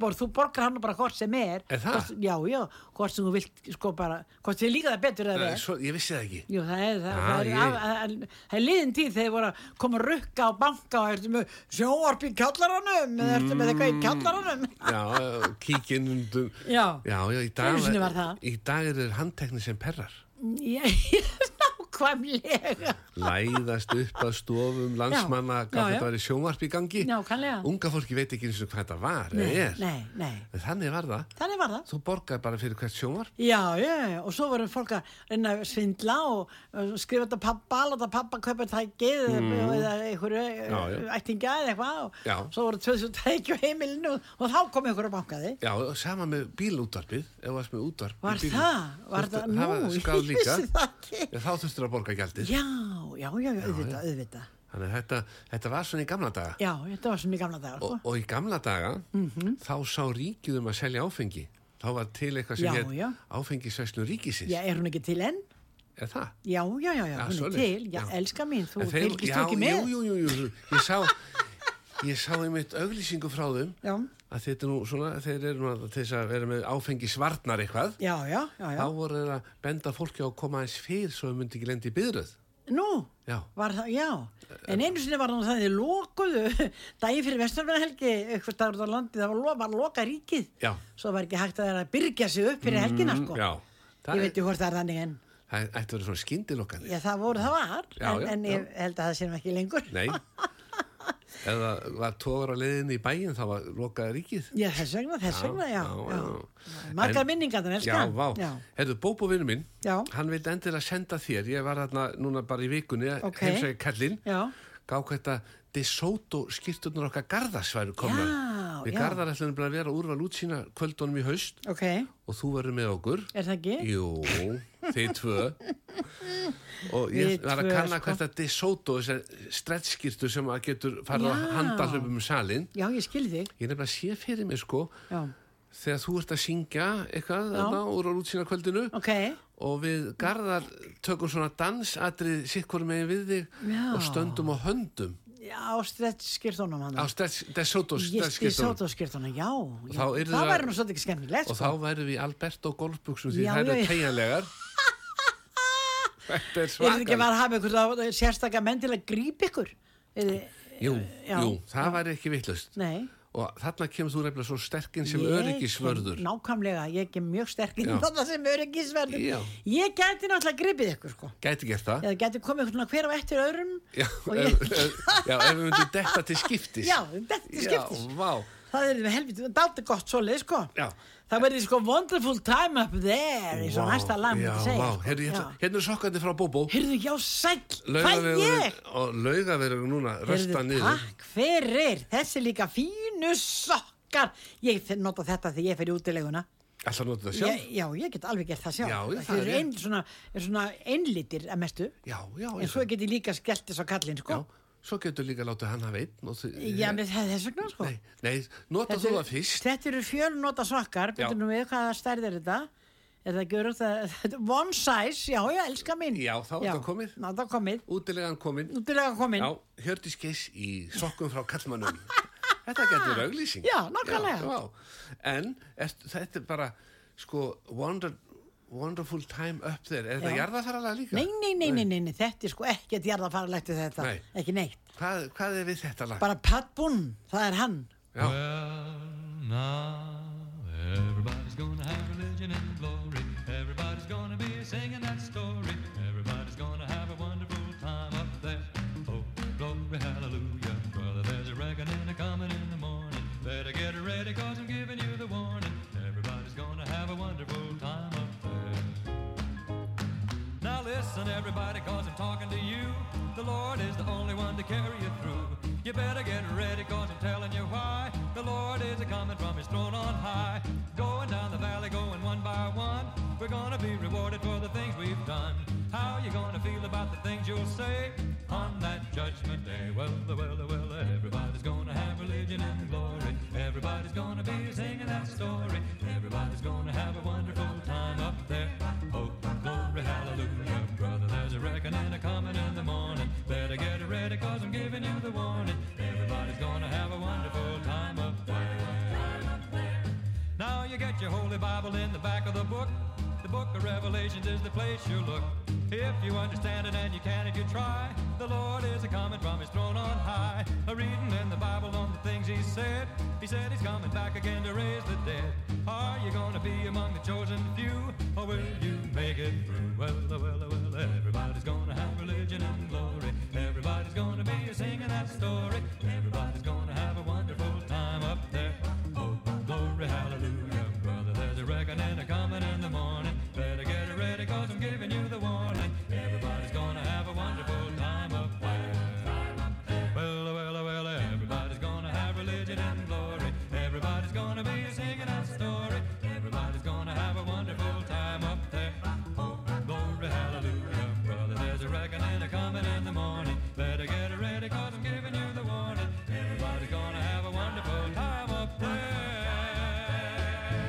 Bor, þú borgar hann bara hvort sem er
Er það?
Hvort, já, já, hvort sem þú vilt sko bara, hvort þið líka það betur eða
Eh,
verð
Svo, ég vissi það ekki.
Jú, það er, það,
Ah,
það, er,
ég-
af, að, að, það er liðin tíð þegar þið voru að koma að rukka á banka og ertu með sjóarp í kallaranum eða ertu með eitthvað
Mm.
í kallaranum
Já, eh, kíkinn undum.
Já.
Já, já, í dag,
Einu sinni var það.
í dag er þeir handtekni sem perrar.
Ég, nákvæmlega
Læðast upp að stofum landsmanna,
Já,
hvað
já.
þetta var í sjónvarp í gangi.
Nákvæmlega.
Unga fólki veit ekki eins og hvað þetta var, eða er.
Nei, nei,
En Þannig var það.
þannig var það
Þú borgaði bara fyrir hvert sjónvarp.
Já, já, já, og svo voru fólk að reyna að svindla og uh, skrifa þetta pappa, láta pappa kaupa tækið mm. eða einhverju
Mhm. Já, já.
uh, ættinga eða eitthvað og
Já.
svo voru 2000 tæki á heimilinu og, og þá kom einhverju bankaði.
Já, og sama með bílútvarpið, ef þú varst með útvarp. í
Var
bílnum.
það? Var
Þurftu-
það? Nú,
var skráð
ég
líka.
vissi það ekki.
Já, þá þurftur að borga gjaldið.
Já, já, já, já, auðvitað, auðvitað.
Þannig að þetta, þetta var svona í gamla daga.
Já, Mhm. þetta var svona í gamla dagar,
Og,
sko.
og í gamla daga, þá sá ríkið um að selja áfengi. Þá var til eitthvað
Já,
sem hét
já.
áfengisveslun ríkisins.
Já, er hún ekki til enn?
Er það?
Já, já, já, já,
Já,
hún er
svoleiðis.
til. Já,
Já.
elska mín, þú
En þeir-
fylgist þú
já,
ekki með.
Jú, jú, jú, jú, ég sá, ég sá einmitt auglýsingu frá þeim
Já.
að þetta er nú svona, þeir eru nú að- til þess að vera með áfengisvarnar eitthvað.
Já, já, já, já.
Þá voru þeir að benda fólki á að koma aðeins fyrr svo þau myndi ekki lendi í byðröð.
Nú,
Já. Eh,
Var það, já, en einu sinni var þannig að þið lokuðu daginn fyrir vesturverðarhelgi eitthvað dagur út á landi, það var, lo, var loka ríkið
Já. Mm,
svo var ekki hægt að það að byrgja sig upp fyrir helgina sko,
Já,
ég
það,
veit um- ekki hvort það er þannig en
það ætti að vera svona skyndilokanir.
já, það voru það var,
Já,
en,
já,
en ég held að það séum ekki lengur
Nei, eða var tóður á leiðinni í bæinn þá var lokaði ríkið.
já, þess vegna, þess vegna, já, já,
En-
margar minningar þannig,
Já,
elskan
vá.
já,
Herðu, Bóbo vinnu minn,
Já.
hann vildi endilega senda þér. Ég var þarna núna bara í vikunni,
Ok.
okay. heimsæði kallinn,
já,
gá þetta De Soto skýrturnar okkar garðasværu komna.
Já,
Við
já.
garðar ætlum bara að vera að úrval út sína kvöldunum í haust
ok er
og þú verður með okkur.
það ekki?
Jú, þið tvö og ég
Við
var að
tvö,
kanna
sko.
hvert að DeSoto þessar stretskirtu sem að getur farið að
Já.
handa hlöpum um salin
já, ég skil þig,
ég er nefnilega að sé fyrir mig sko
já,
þegar þú ert að syngja eitthvað þarna, úr á rútsýna kvöldinu
ok
og við garðar tökum svona dansatrið sitt hvort megin við þig
Já.
og stöndum á höndum
já, strett skýrtunum hann
á Stretch- DeSoto
Ég í
stretskirtu
sótaskýrtuna, já, já.
þá yrði
það
það-
væri nú svolítið ekki skemmilegt
og
sko.
þá værum við Alberto golfbuksum því
Já,
það
já,
eru
já.
tegjanlegar Þetta er
Ég er ekki
svakalegt
bara að hafa ykkur sérstakka eh, menn til að grípa ykkur Yrði,
Jú,
Já.
jú, það væri ekki vittlust
Nei
og þarna kemur þú nefnilega svo sterkinn sem
Ég
öryggisvörður
kem- Nákvæmlega, ég er mjög sterk inn
Já.
þarna sem öryggisvörður
Já.
Ég gæti náttúrulega grípið ykkur sko
gæti gert það
Eða gæti komið ykkur svona hver á eftir öðrum
já,
Og
ef,
ég-
ef, já, ef við myndum detta til skiptis
Já, þetta er skiptis
já, vá,
Það er helviti, dátu gott svoleið sko
já
Það verði sko wonderful time up there í svo
Vá,
næsta lag
já,
myndi segja,
vá,
sko.
herri, ég ætla-
Já.
hérna er sokkandi frá Bóbó
Heyrðu, já, sæll, hvað ég?
Laugavegurinn- og laugaverður núna rösta
Heyrðu,
niður
Takk fyrir, þessi líka fínu sokkar. Ég finn- nota þetta þegar ég fer í útileguna.
alltaf notu það
Ég,
sjálf
já, ég get alveg gert það sjálf.
Já, já, það
það
er
er
rétt.
ein, svona, er svona einlítir að mestu.
já, já,
En
eins
svo
og-
get ég líka skellt þess á kallinn,
já
sko.
svo getur líka látið hann hafa einn og þið-
Já, með það- þess vegna, sko.
nei, nei, nota þú það fyrst
Þetta eru fjölnota sokkar,
Já.
betur nú við hvaða stærð er þetta. Er það gjörur það, one size, já, já, elska mín.
Já, þá er þetta komið.
Ná, það komið.
útilegan kominn
Útilega komið.
Já, Hjördís Geiss í sokkum frá kallmannum. þetta getur auglýsing.
Já, nákvæmlega.
Já, já. En er, þetta er bara, sko, wonder, wonderful time up there. Er þetta
Já.
jarðafaralega líka?
Nei, nei, nei, nei, nei, nei, þetta er sko ekkert jarðafarlegt við þetta,
Nei.
ekki neitt.
Hvað, hvað er við þetta lag?
bara Pat Boone, það er hann
já,
Well, now everybody's gonna have religion and glory. Everybody's gonna be singing that story. Everybody's gonna have a wonderful time up there. Oh, glory, hallelujah. Brother, there's a reckoning a coming in the morning. Better get ready, cause I'm giving you the warning. Everybody's gonna have a wonderful time up there. Now listen, everybody, cause
the only one to carry you through. You better get ready, cause I'm telling you why. The Lord is a coming from his throne on high. Going down the valley, going one by one. We're gonna be rewarded for the things we've done. How you gonna feel about the things you'll say on that judgment day? Well, well, well, everybody's gonna have religion and glory. Everybody's gonna be singing that story. Everybody's gonna have a wonderful time up there. Oh, glory, hallelujah, brother. There's a reckoning a coming in the morning. Better get ready, cause I'm giving you the warning. Everybody's gonna have a wonderful time up there. Now you get your Holy Bible in the back of the book. The book of Revelations is the place you look. If you understand it and you can if you try, the Lord is a coming from his throne on high. A reading in the Bible on the things he said. He said he's coming back again to raise the dead. Are you gonna be among the chosen few? Or will you make it through? Well, well, well, everybody's gonna have religion and glory. Everybody's gonna be singing that story. Everybody's gonna have a wonderful time up there. Oh, glory, hallelujah, brother. There's a reckoning a coming in the morning. Better get ready, cause I'm giving you the warning. Everybody's gonna have a wonderful time up there. Well, well, well, everybody's gonna have religion and glory. Everybody's gonna be singing that story. Everybody's gonna have a wonderful time up there. Oh, glory, hallelujah, brother. There's a reckoning a coming in the morning. Better get ready, cause I'm giving you the warning. Everybody's gonna have a wonderful time up there.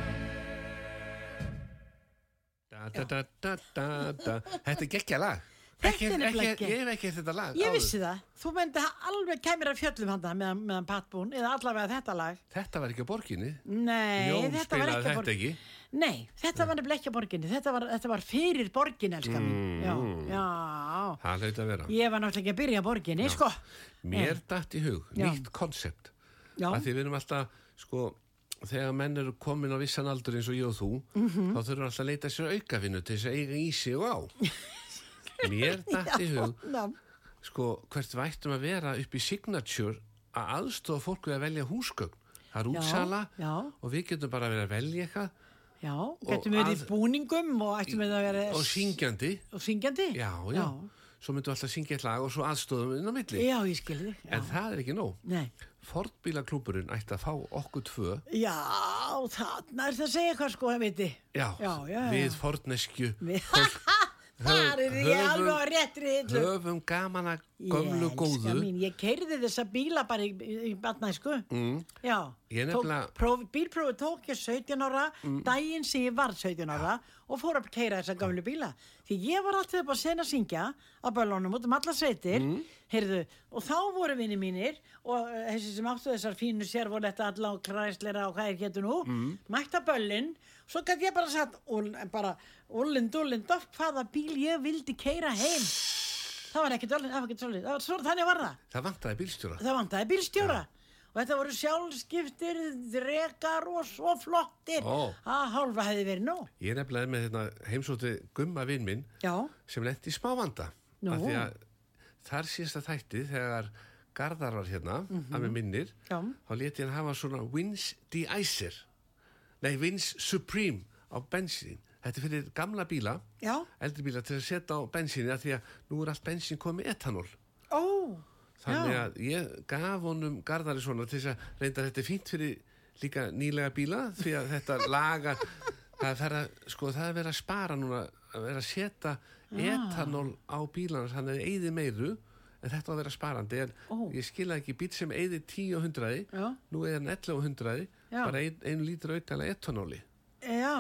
Da, da, da, da, da, da. Þetta er geggjað lag Ekki-
er
ekki-
nefnilega geggjað.
Ég hef ekki heyrt þetta lag
Ég
áður.
vissi það, þú myndi ha- alveg kæmir af fjöllum handa meðan, meðan Patbún eða allavega þetta lag.
Þetta var ekki á borginni
Nei,
Jón
þetta var
spilaði
ekki að
þetta
borginni.
ekki
Nei, þetta var nefnilega ekki að borginni, þetta var, þetta var fyrir borgin, elskar
Mm.
mín. Já, já,
Það hlaut að vera
ég var náttúrulega ekki að byrja á borginni, sko.
Mér datt í hug,
Já.
nýtt konsept
Já,
að því við erum alltaf sko, þegar menn eru komin á vissan aldur eins og ég og þú
Mhm.
þá þurfum við alltaf að leita sér aukafinu til þess að eiga í sig og á mér dætti hug
já,
sko, hvert vættum að vera upp í signature að aðstofa fólk við að velja húsgögn það er
Já,
útsala
já.
og við getum bara verið að velja eitthvað
já, gættum við
að-
verið í búningum og ættum við að vera
og syngjandi
og syngjandi.
já, já, svo myndum við alltaf að syngja eitt lag og svo aðstofum inn á milli
Já, ég skil þig. Já.
en það er ekki nóg
Nei.
Fordbílaklúburinn ætti að fá okkur tvö
Já, þarna er það að segja eitthvað sko, það viti.
Já,
Já, já, já.
við forneskju
Við- Þar er ég
höfum-
alveg á réttri hillu.
höfum gaman að gömlu
Ég elska
góðu
mín, ég keirði þessa bíla bara í, í batnæsku mm. já,
Ég nefnilega-
tók, próf, bílprófi tók ég 17 ára daginn sem ég var 17 ára og fór að keira þessa gamlu bíla því ég var alltaf upp á sen að syngja á bölunum út um alla sveitir heyrðu, og þá voru vinni mínir og eh, þessi sem áttu þessar fínu sérvoletta alla og kræslera og hvað er getur nú mm. mætta bölun svo gæti ég bara satt og bara ullind, ullind, af hvaða bíl ég vildi keira heim Það var ekkert alveg, það var ekkert svolítið, það var svo, þannig var það.
Það vantaði bílstjóra
Það vantaði bílstjóra. Og þetta voru sjálfskiptir, drekar og svo flottir.
Ó.
Að hálfa hefði verið nóg.
Ég nefnilega er með hérna, heimsótti gumma vinn minn
Já,
sem lendi í smávanda
Nú.
Af því að Þar síðasta þætti þegar Garðar var hérna að mér minnir
Mhm. Já.
þá leti hann hafa svona Wins De-Icer Nei, Wins Supreme á bensín Þetta er fyrir gamla bíla
já,
eldri bíla til að setja á bensíni af því að nú er allt bensín komið etanól
ó,
Þannig
Já.
að ég gaf honum Garðari svona til þess að reynda þetta er fínt fyrir líka nýlega bíla því að þetta laga það er, vera, sko, það er verið að spara núna að vera að setja
Ah.
etanól á bílana þannig að það eyði meiru en þetta á að vera sparandi en
Ó.
ég skila ekki bíl sem eyði 10 og 100
Já.
nú er hann 11 og 100
Já.
bara ein, einu lítur aukalega etanóli
já,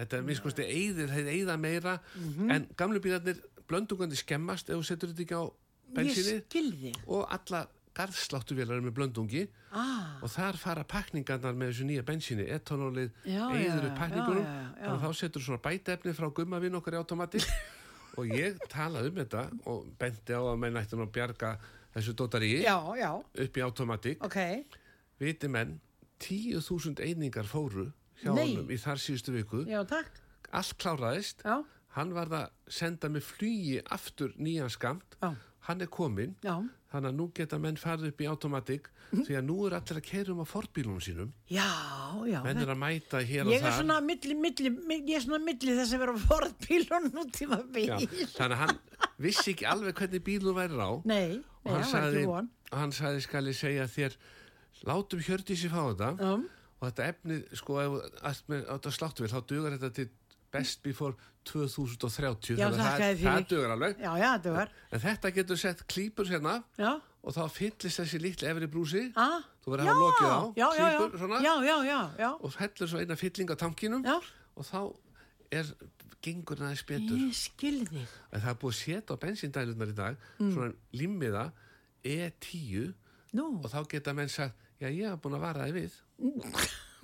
þetta er minnst kosti eyðir, þeir eyða meira
Mhm.
en gamlu bílarnir blöndungandi skemmast ef þú setur þetta ekki á bensinni
ég skilði.
og alla garðsláttuvélar með blöndungi
Ah,
og þar fara pakningarnar með þessu nýja bensinni etanólið,
Já, já,
eður upp
já,
pakningunum
já, já, já.
þannig að þá setur svona bætefni frá gummavinn okkar í automatik og ég talaði um þetta og benti á að menn ættum að bjarga þessu dótaríi
já, já,
upp í automatik
ok.
viti menn, 10.000 einingar fóru hjá
Nei.
honum í þar síðustu viku
Já, takk.
allt kláraðist
Já,
hann var að senda með flugi aftur nýjan skamt
Já.
hann er kominn
já,
þannig að nú geta menn farið upp í automatik
Mhm.
því að nú er allir að keira um á forbílunum sínum
já, já.
menn er að mæta hér
Ég
og
er
þar
svona milli, milli, milli, ég er svona milli þess að vera á forðbílun út í maður
Já,
bíl.
þannig að hann vissi ekki alveg hvernig bílun væri á
Nei,
og og hann
Já, var ekki
sagði,
von.
hann sagði skal ég segja þér látum Hjördísi fá þetta
Um,
og þetta efnið sko ef allt með þetta sláttu við þá dugar þetta til best before 2030
Já,
þannig að
þakka
það,
þér fyrir.
það dugar alveg
já, já, þetta var.
en þetta getur sett klípur hérna
Já.
og þá fyllist þessi litli efri brúsi
Ah,
þú verður að hafa lokið á
já, já, já,
klípur svona
já, já, já, já,
og hellur svo eina fylling á tankinum
já,
og þá er gengur næðis betur
ég skilði.
en það er búið að setja á bensíndælunar í dag svona limmiða E10
Nú,
og þá geta menn sagt já ég hef búin að vara þið við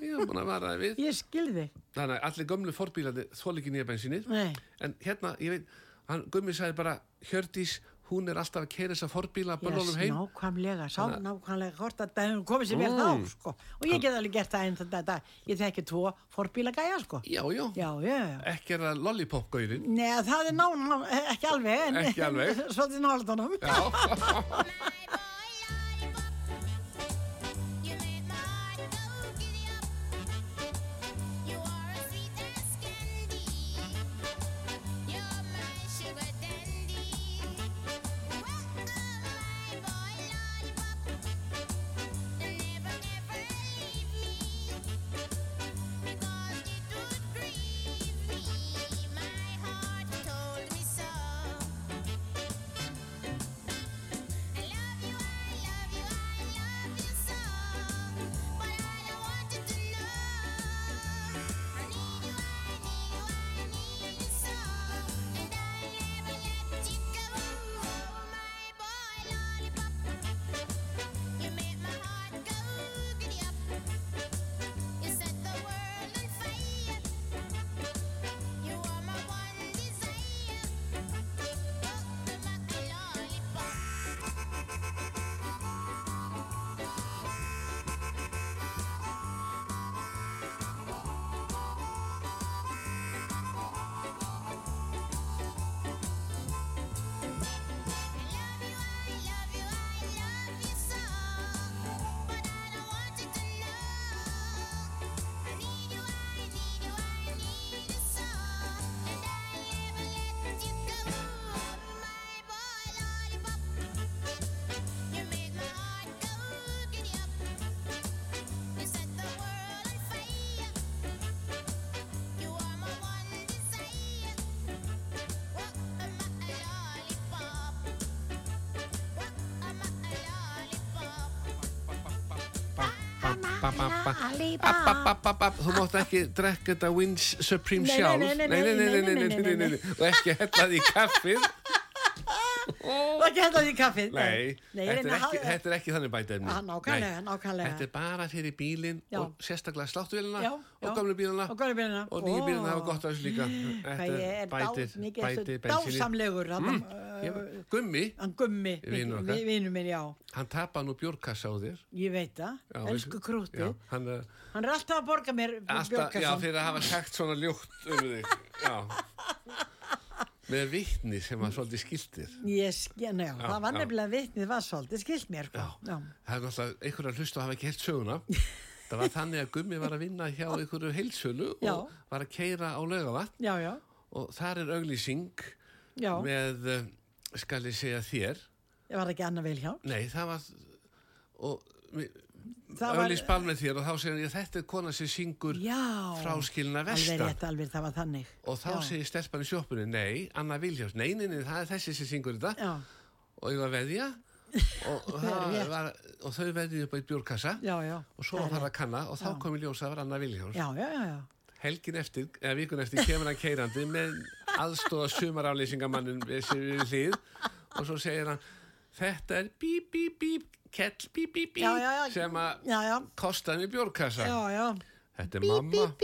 ég hef búin að vara þið við
ég skilði.
þannig að allir gömlu forbílandi þól ekki nýja bensinið
Nei,
en hérna ég veit hann gummi sagði bara Hjördís hún er alltaf að keira þess að forbíla
ég
börnunum heim
nákvæmlega, sá
Þannig að- Mm.
nákvæmlega hvort að það hefur komið sér vel þá, sko. Og ég get alveg gert það einn þannig að þetta, ég þekki tvo forbíla gæja, sko.
já já
Já, já, já.
ekki er það lollipop gaurin
Nei, það er nána, ekki alveg, en
Ekki alveg.
svolítið nálaðunum.
So. I love you, I love you, I love you so, but I don't want you to know. I need you, I need you, I need you so, and I never let you go. Oh my boy, lollipop, you make my heart go giddy up. You set the world on fire. You are my one desire. Oh, my lollipop. I love you, I love you, I love you so, but I don't want you to know. I need you, I need you, I need you so, and I never let you go. My boy lollipop, you made my heart go giddy up. You set the world on fire. You are my one desire. What am I lollipop? What am I lollipop?
þú mátt ekki drekka þetta Wins Supreme
Nei,
sjálf
nei, nei, nei,
nei, nei, nei,
nei, nei,
nei, nei. og ekki hella því í kaffið
Og ekki henda því í kaffið.
Nei,
Nei,
þetta, er
reyna að
ekki,
hafa-
þetta er ekki þannig bætefni
Ah, nákvæmlega, nákvæmlega.
Þetta er bara fyrir bílinn
Já.
og sérstaklega sláttuvelina
Já, já.
og gamlu bílina
Og gömlu bílana.
og nýju bílina
Ó.
hafa gott af þessu líka
Hvað
Þetta
ég er
bætir,
dá, mikið
bætir
þessu
bensinni
dásamlegur hann,
Ég-
mm.
Gummi,
hann gummi,
Vinur okkar.
vinnu minn, já,
hann tapar nú bjórkassa á þér
ég veit það,
Já,
elsku
veistu-
krútið,
Já, hann er
hann er alltaf að borga mér
alltaf, já,
Björgarsson,
fyrir að hafa sagt svona ljótt um þig Já Með vitni sem að svolítið skiltir
ég skil, já, það var
já.
nefnilega vitnið var svolítið, skilt mér, sko, já,
Það er náttúrulega einhverja hlust og hafa ekki heilt söguna. Það var þannig að Gummi var að vinna hjá einhverju heilsölu og
Já.
var að keira á laugavatn
já, já,
og þar er auglýsing
já,
með, eh, skal ég segja þér,
ég var ekki annað vel hjá,
nei það var, og
það var,
auglýs bal með þér og þá segir hann, "Já, þetta er kona sem syngur
já,
fráskilna
alveg
vestar.
rétt, alveg, það var þannig,
Og þá
Já.
segir stelpan í sjoppunni, nei, Anna Viljáns, nei, nei, nei, það er þessi sem syngur þetta
já,
og ég var að veðja og, og,
Rétt.
það var, og þau veðjuðu upp á eitt bjórkassa
já, já,
og svo var það að kanna og þá
Já.
kom í ljós að það var Anna Viljáns.
já, já, já, já,
Helgin eftir, eða vikun eftir, kemur hann keirandi með aðstóða sumaraflýsingamannin sem við hlýð og svo segir hann, þetta er bíp, bíp, bíp, kell, bíp, bíp,
Já, já, já.
bíp, sem að
já, já,
kosta hann í bjórkassa.
já, já,
Þetta er mamma,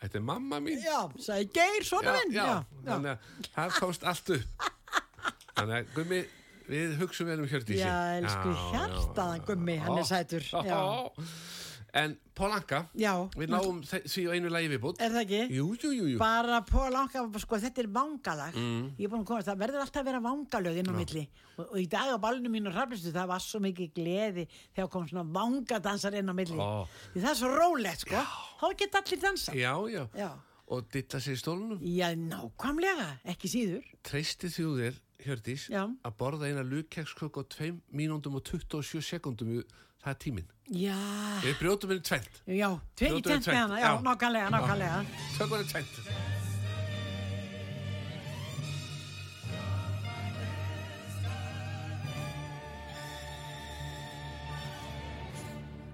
þetta er mamma mín.
já, sagði Geir, svona minn, já, já,
þannig að það komst allt upp. Þannig að, gummi, við hugsum vel um hjördísi.
já, elsku hjartaðan gummi, hann er sætur, já,
En Pólanka,
já,
við náum þe- því á einu lægi viðbútt.
er það ekki?
Jú, jú, jú, jú.
bara på langa, sko þetta er vangalag
Mm.
ég er búin að komast, það verður alltaf að vera vangalög inn á milli og, og í dag á ballinu mínu hraplistu það var svo mikið gleði þegar kom svona vangadansar inn á milli
Ó.
því það er svo rólegt sko þá geta allir dansa já,
Já, já.
já.
Og ditta sér í stólunum.
nákvæmlega, ekki síður
Treysti þjóðir Hjördís,
Já.
að borða eina lukkekskökk á 2 mínúndum og 27 sekundum það er tíminn.
Já,
Við brjótum henni tvent.
já, tveir
Brjótum
í tent
tvennt,
með hana, já,
já.
nákvæmlega, nákvæmlega.
Tökum henni tvent.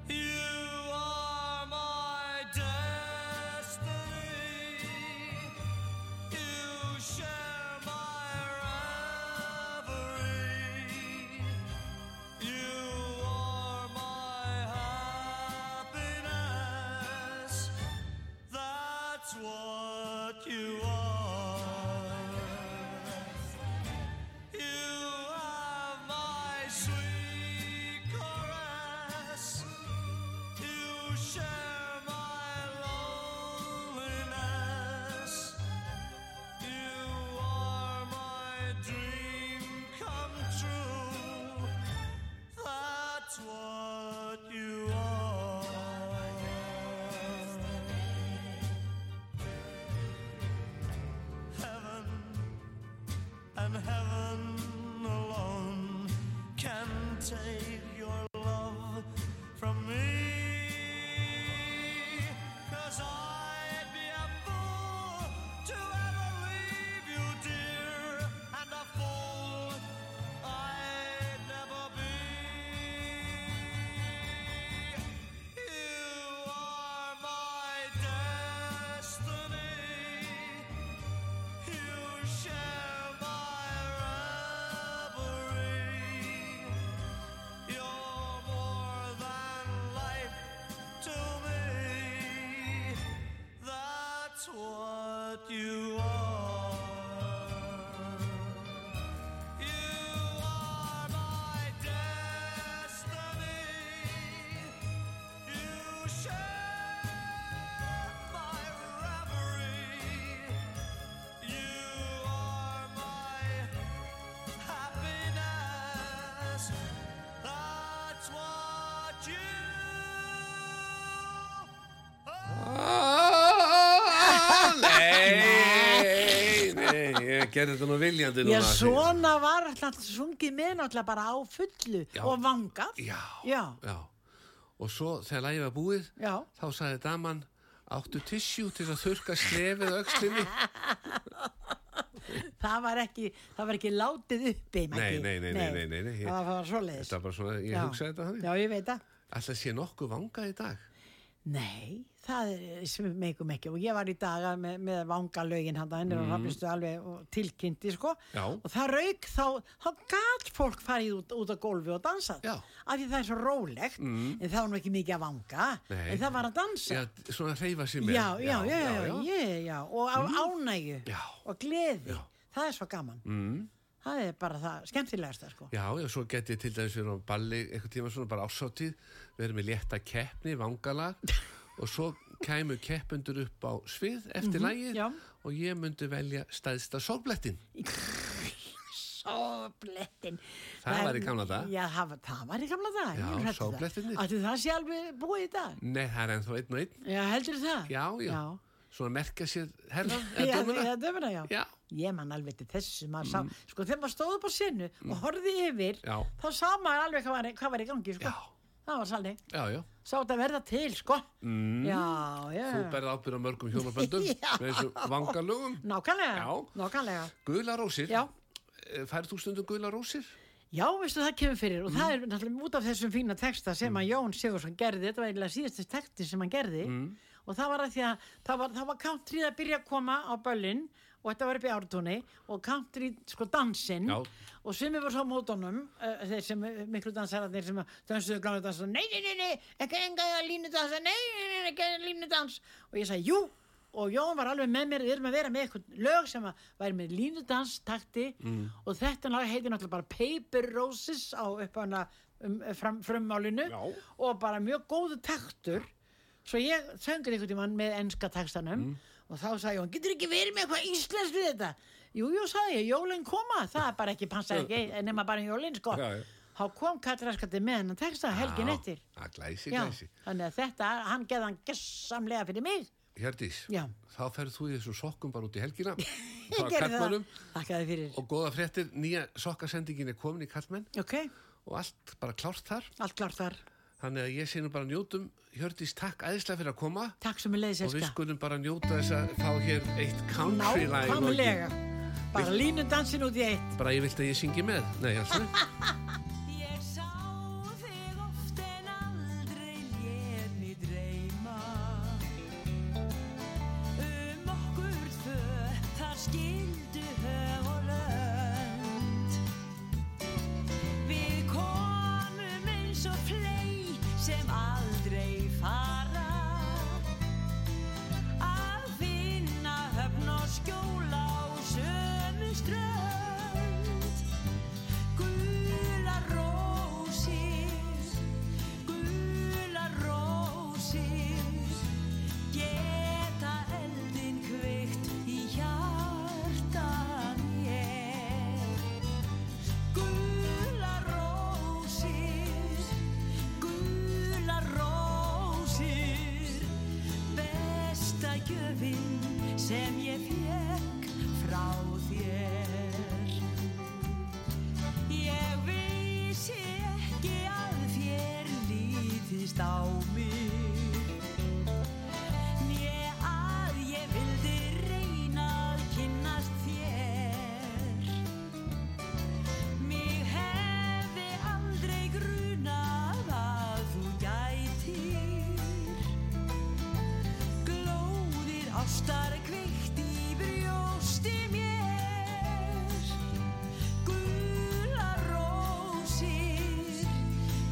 You are my destiny. You share my reverie. You are my happiness. That's what you are. You have my sweet caress. You share my loneliness. You are my dream come true. That's what you are. Heaven and heaven alone can take your love from me. Cause I'd be a fool to ever leave you, dear, and a fool I'd never be. You are my destiny. You share my reverie. You're more than life to me. That's what you are. You are my destiny. You share my reverie. You are my happiness. That's what you
Ah, Nei, nei, ég gerði þetta nú viljandi núna.
Já, svona var alltaf sungið með náttúrulega bara á fullu
Já.
og vangað.
Já,
Já,
já. Og svo þegar lægið var búið,
já.
þá sagði daman, áttu tissjú til að þurka slefið á öxlinni?
Það var ekki, það var ekki látið uppi,
Nei, nei, nei, nei, nei, nei, nei.
Það var- var svoleiðis.
Þetta var bara svona, ég
Já.
hugsaði þetta þannig.
Já, ég veit það.
Alltaf sé nokkuð vangað í dag.
Nei, það er sem meikum ekki og ég var í daga með, með vangalögin hann þannig mm. og hafnistu alveg og tilkynnti sko
Mhm. Já.
og það rauk þá, þá gat fólk farið út, út á gólfi og dansað
Já. Mhm.
af því það er svo rólegt en það var nú ekki mikið að vanga
Nei.
en það var að dansa
Já, svona hreyfa sér
já,
með.
já, já, já, já,
já. Mm.
ég- já. og á, ánægju
Já.
og gleði
Já.
það er svo gaman mm. það er bara það skemmtilegasta sko
Já, já, svo geti ég til dæmis verið á balli eitthvað tíma svona bara ásáttíð, verið með létta keppni, vangalag og svo kæmu keppundur upp á svið eftir lagið
Mhm, já.
og ég myndi velja stæðsta sólblettin.
Sóblettin
Það var í gamla daga.
Já, það var, það var í gamla dag
Já, sóblettirnir.
Ætli það sé alveg búið í dag
Nei, það er ennþá einn og einn.
Já, heldur það?
Já, já.
Já,
Svona merkja sér herran
já,
eða dómuna.
já, dömuna, já.
Já. Mm.
Ég man alveg til þessu sem maður sá Sko, þegar maður stóð upp á sinu og horfði yfir
Já.
þá sá maður alveg hvað var, hvað var í gangi, sko
Já.
Það var sannleik
Já, já.
Sá þetta verða til, sko mm. Já, já
Þú berði ábyrð á mörgum hjónaböndum
Ah. Já.
með þessu vangalögum.
Nákvæmlega,
Já.
nákvæmlega
Gula rósir.
Já.
Færðu þú stundum gula rósir?
Já, veistu, það kemur fyrir og
Mm.
það er náttúrulega út af þessum fína texta sem að Jón Sigursson gerði, þetta var eiginlega síðastis texti sem hann gerði
Mm.
og það var að því að það var, það var country að byrja að koma á böllin og þetta var upp í ártúni og country, sko, dansinn
Já.
og sumir voru svo á mótunum uh, þeir sem, uh, miklu dansararnir sem dansuðu gamla dansa, nei, nei, nei, nei, ekki enga línu dansa, nei, nei, nei, ekki línu dans og ég sagði, jú, og Jón var alveg með mér, við erum að vera með eitthvað lög sem að væri með línudans takti og þetta lag heitir náttúrulega bara Paper Roses á upphana um, fram, frummálinu
Já.
og bara mjög góðu taktur svo ég söngur einhvern tímann með enska takstanum
Mm.
og þá sagði Jón, getur ekki verið með eitthvað íslensk við þetta? Jú, jú, sagði ég, jólinn koma, það er bara ekki, passa ekki, nema bara um jólinn, sko.
Já, já.
Þá kom Katraskati með hennan texta helgin eftir.
Já, Ah, glæsi,
Já,
glæsi.
þannig að þetta, hann gerði hann gessamlega fyrir mig.
Hjördís,
Já.
þá ferð þú í þessum sokkum bara út í helgina
Ég gerði það.
kallmannum
Þakkaði fyrir.
og góða fréttir, nýja sokkasendingin er komin í kallmenn
Ok,
og allt bara klárt þar
allt klart þar.
þannig að ég sé nú bara að njótum Hjördís, takk æðislega fyrir að koma
Takk sem er leiðis,
og við
elska.
skulum bara njóta þess að fá hér eitt country lag í
Nákvæmlega.
lokin.
Bara línu dansin út í eitt.
bara ég vilt að ég syngi með nei, alls veit
Ég sá þig oft en aldrei létt mig dreyma Um okkur tvö þar skildu höf og lönd Við komum eins og flei sem aldrei fara Að finna höfn og skjóla á sömu strönd Gular rósir, gular rósir, geta eldin kveikt í hjartan ég. Gular rósir, gular rósir, besta gjöfin sem ég fekk frá þér. Ég vissi ekki að þér lítist á mig Né að ég vildi reyna að kynnast þér Mig hefði aldrei grunað að þú gætir Glóðir ástar kveikt í brjósti mér Gular rósir,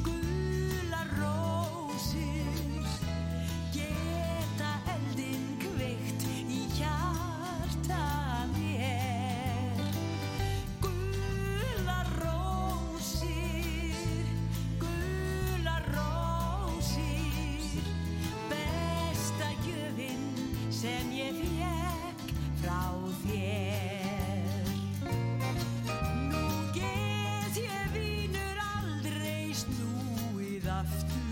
gular rósir, geta eldin kveikt í hjarta mér. Gular rósir, gular rósir, besta gjöfin sem ég fekk frá þér. Nú get ég vínur aldrei snúið aftur